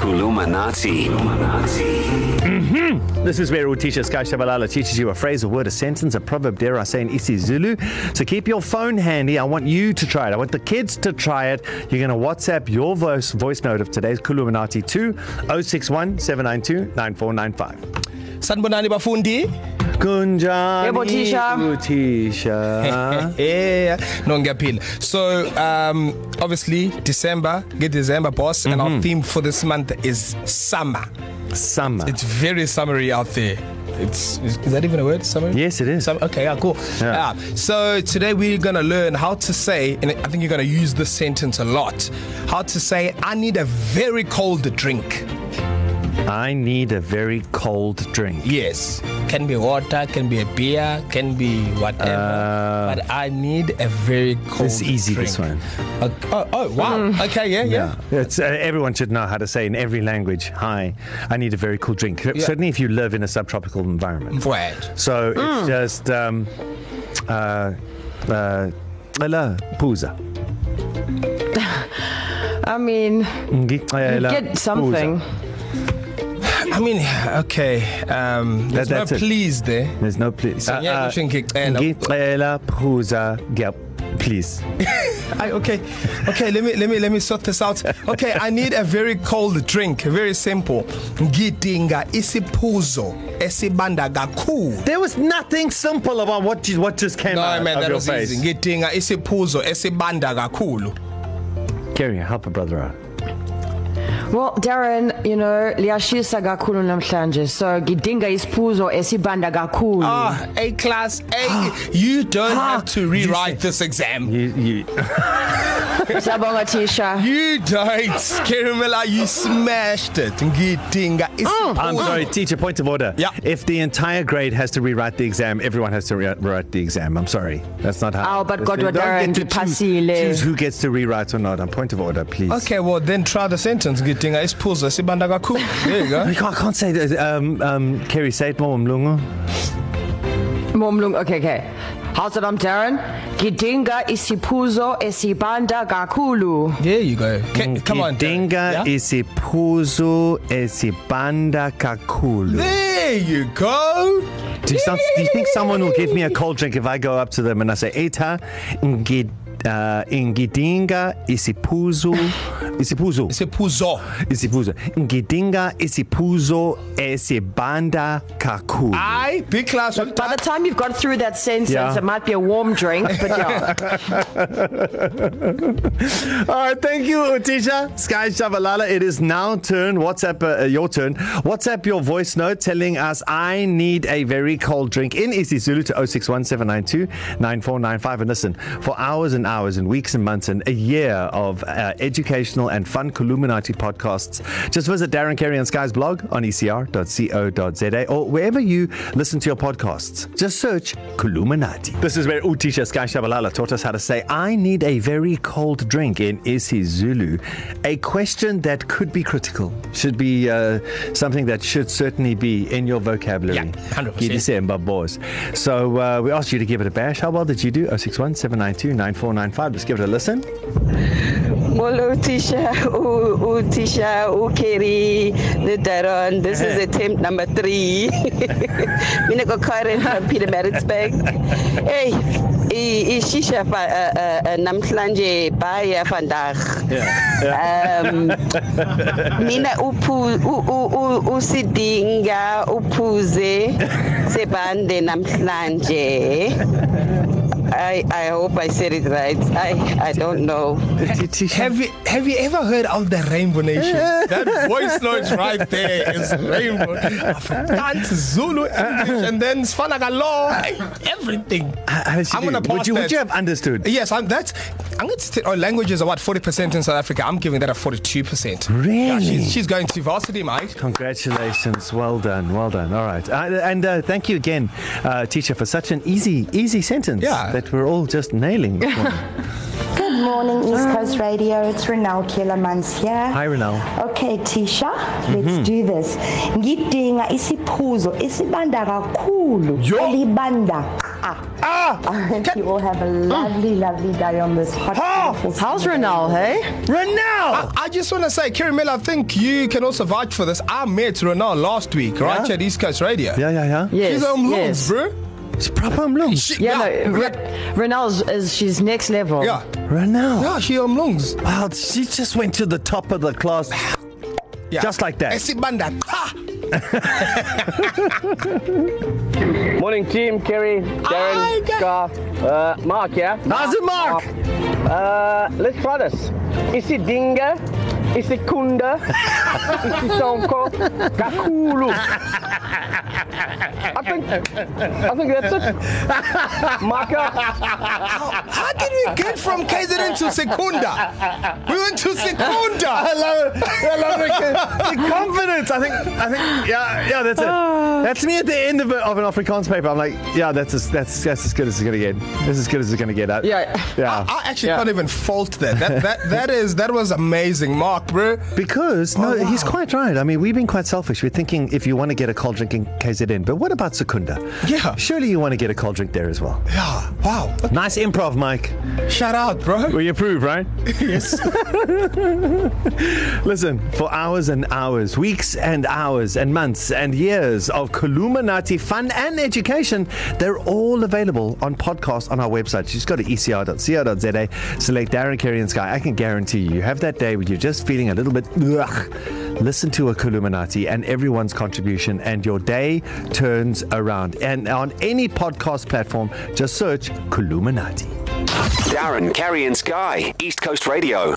Kulumanati. This is where Utisha Sky Shabalala teaches you a phrase, a word, a sentence, a proverb, dare I say, in Isi Zulu. So keep your phone handy. I want you to try it. I want the kids to try it. You're going to WhatsApp your voice, voice note of today's Kuluminati oh to 061 792 9495. sanibonani bafundi Kunjani. Yebo, Tisha. Utisha. yeah Eh, no ngiyaphila so um obviously december nge-december boss mm-hmm. and our theme for this month is summer Summer. it's very summery out there it's is, is that even a word summer Yes, it is. Some, okay, yeah, cool. Yeah. Yeah. Yeah. So today we're going to learn how to say, and I think you're going to use this sentence a lot, how to say, I need a very cold drink. I need a very cold drink. Yes. Can be water, can be a beer, can be whatever. Uh, Uh, but I need a very cold This is easy, drink. this one. Okay. Oh, oh, wow. Mm. Okay, yeah, yeah. It's, uh, everyone should know how to say in every language, hi, I need a very cool drink. Yeah. Certainly if you live in a subtropical environment. yeah. Right. So mm. Hmm. it's just um, uh, uh, Ngicela phuza. I mean, Ngicela get something. phuza. I mean, okay. Um, there's that, that's no it. please there. There's no uh, please. So, yeah, kusho ngicela. Ngicela phuza. Yep. Please. I, okay, okay. Let me let me let me sort this out. Okay, I need a very cold drink. Very simple. Ngidinga isiphuzo esibanda kakhulu. There was nothing simple about what you, what just came No, out man, of that your was face. easy. Ngidinga isiphuzo esibanda kakhulu. Kerry, help a brother out. Well, Darren, you know, liyashisa kakhulu namhlanje. So gidinga isiphuzo esibanda kakhulu. Ah, A class A. you don't have to rewrite this exam. You, you, Sabonga Tisha. You don't, Kirimela. You smashed it. Ngidinga isiphuzo. I'm sorry, teacher, point of order. Yeah. If the entire grade has to rewrite the exam, everyone has to rewrite the exam. I'm sorry. That's not how. Oh, but That's- Godwa don't Darren, get to choose, ngipasile. choose who gets to rewrite or not. On point of order, please. Okay, well then try the sentence. Ngidinga isiphuzo esibanda kakhulu. There you go. We can't, I can't say that. Um, um, Kerry, say it more, Mlungu. Momlung. Okay, okay. How's it, I'm Darren? Gidinga isiphuzo esibanda kakhulu. There you go. Can, mm, come on, Darren. Dinga isipuzu esibanda kakulu. There you go. Do you, some, do you think someone will give me a cold drink if I go up to them and I say, Eta, ngid, uh, ngidinga isipuzu, isipuzu. Sephuzo. isibuzo ngidinga isiphuzo esibanda kakhulu I big class. By the time you've got through that sentence, Yeah. yeah. it might be a warm drink, but yeah. all right thank you utisha sky shavalala it is now turn whatsapp uh, your turn whatsapp your voice note telling us i need a very cold drink in isizulu to 0617929495 and listen for hours and hours and weeks and months and a year of uh, educational and fun Columinati podcasts just visit Darren Carey and Sky's blog on E ecr.co.za or wherever you listen to your podcasts. Just search Kuluminati. This is where Utisha Sky Shabalala taught us how to say, I need a very cold drink in isiZulu. A question that could be critical, should be uh, something that should certainly be in your vocabulary. Yeah, 100%. December boys. So uh, we asked you to give it a bash. How well did you do? 061 792 9495. Let's give it a listen. Molo Tisha, ooh, ooh, Tisha, ooh, Kerry, the Daron. This is attempt number three. Mina got Karen from Peter Maritzburg. Hey, i- i- Shisha fa- uh, uh, uh, namhlanje baya vandag. Um, mina uphu- u- u- u- usidinga uphuze sebande namhlanje. I, I hope I said it right. I, I don't know. Have you have you ever heard of the Rainbow Nation? that voice note right there is Rainbow. Afrikaans, Zulu, English, and then Sfanagalo, everything. How'd you I'm gonna do? pass would you, would that. you have understood? Uh, Yes, I'm, that's. I'm going to say oh, language is about 40% in South Africa. I'm giving that a 42%. Yeah, Really? she's, she's going to varsity, mate. Congratulations. Well done. Well done. All right. Uh, and uh, thank you again, uh, teacher, for such an easy, easy sentence Yeah. that we're all just nailing. this morning. Good morning, East Coast Radio. It's Renal Kielemans here. Hi, Renal. Okay, Tisha, let's mm-hmm. do this. Ngidinga isiphuzo esibanda kakhulu Yo. elibanda Ah! I hope you all have a lovely, lovely day on this hot, Ah. beautiful How's Sunday. Renal, hey? Renal! I just want to say, Kerry Miller, I think you can also vouch for this. I met Renal last week, right Yeah? here at East Coast Radio. Yeah, yeah, yeah. Yes. She's on yes. loans, bro. It's proper lungs. She, Yeah, no, yeah, Re- Renal's is she's next level. yeah, Renal. yeah, she on loans. Wow, she just went to the top of the class. Yeah. Just like that. Esibanda. Ah! Morning, team. Kerry, Ah! Hi, Darren, Ke- Scar, uh, Mark, yeah? How's it, Mark? Oh, Uh, let's try this. Isi Dinga, Isi Kunda, Isi Sonko, Kakulu. I think, I think that's it. Maka, oh, How did we get from KZN to Secunda? We went to I Secunda. love it. I love it. The confidence. I think. I think. Yeah. Yeah. That's it. Ah. That's me at the end of, a, of an Afrikaans paper. I'm like, yeah. That's as, that's that's as good as it's gonna get. That's as good as it's gonna get. I, Yeah. Yeah. I actually can't even fault that. That that that is that was amazing, Mark, bro. Because no, Oh, wow. he's quite right. I mean, we've been quite selfish. We're thinking if you want to get a cold drink in KZN, but what about Secunda? Yeah. Surely you want to get a cold drink there as well. Yeah, wow. Nice improv, Mike. Shout out, bro. We approve, right? Yes. Listen, for hours and hours, weeks and hours and months and years of Kaluminati fun and education, they're all available on podcast on our website. Just go to E ecr.co.za, select Darren, Kerry, and Sky. I can guarantee you, you have that day when you're just feeling a little bit ugh. Listen to a Kaluminati and everyone's contribution, and your day turns around. And on any podcast platform, just search Kaluminati. Darren, Kerry, and Sky, East Coast Radio.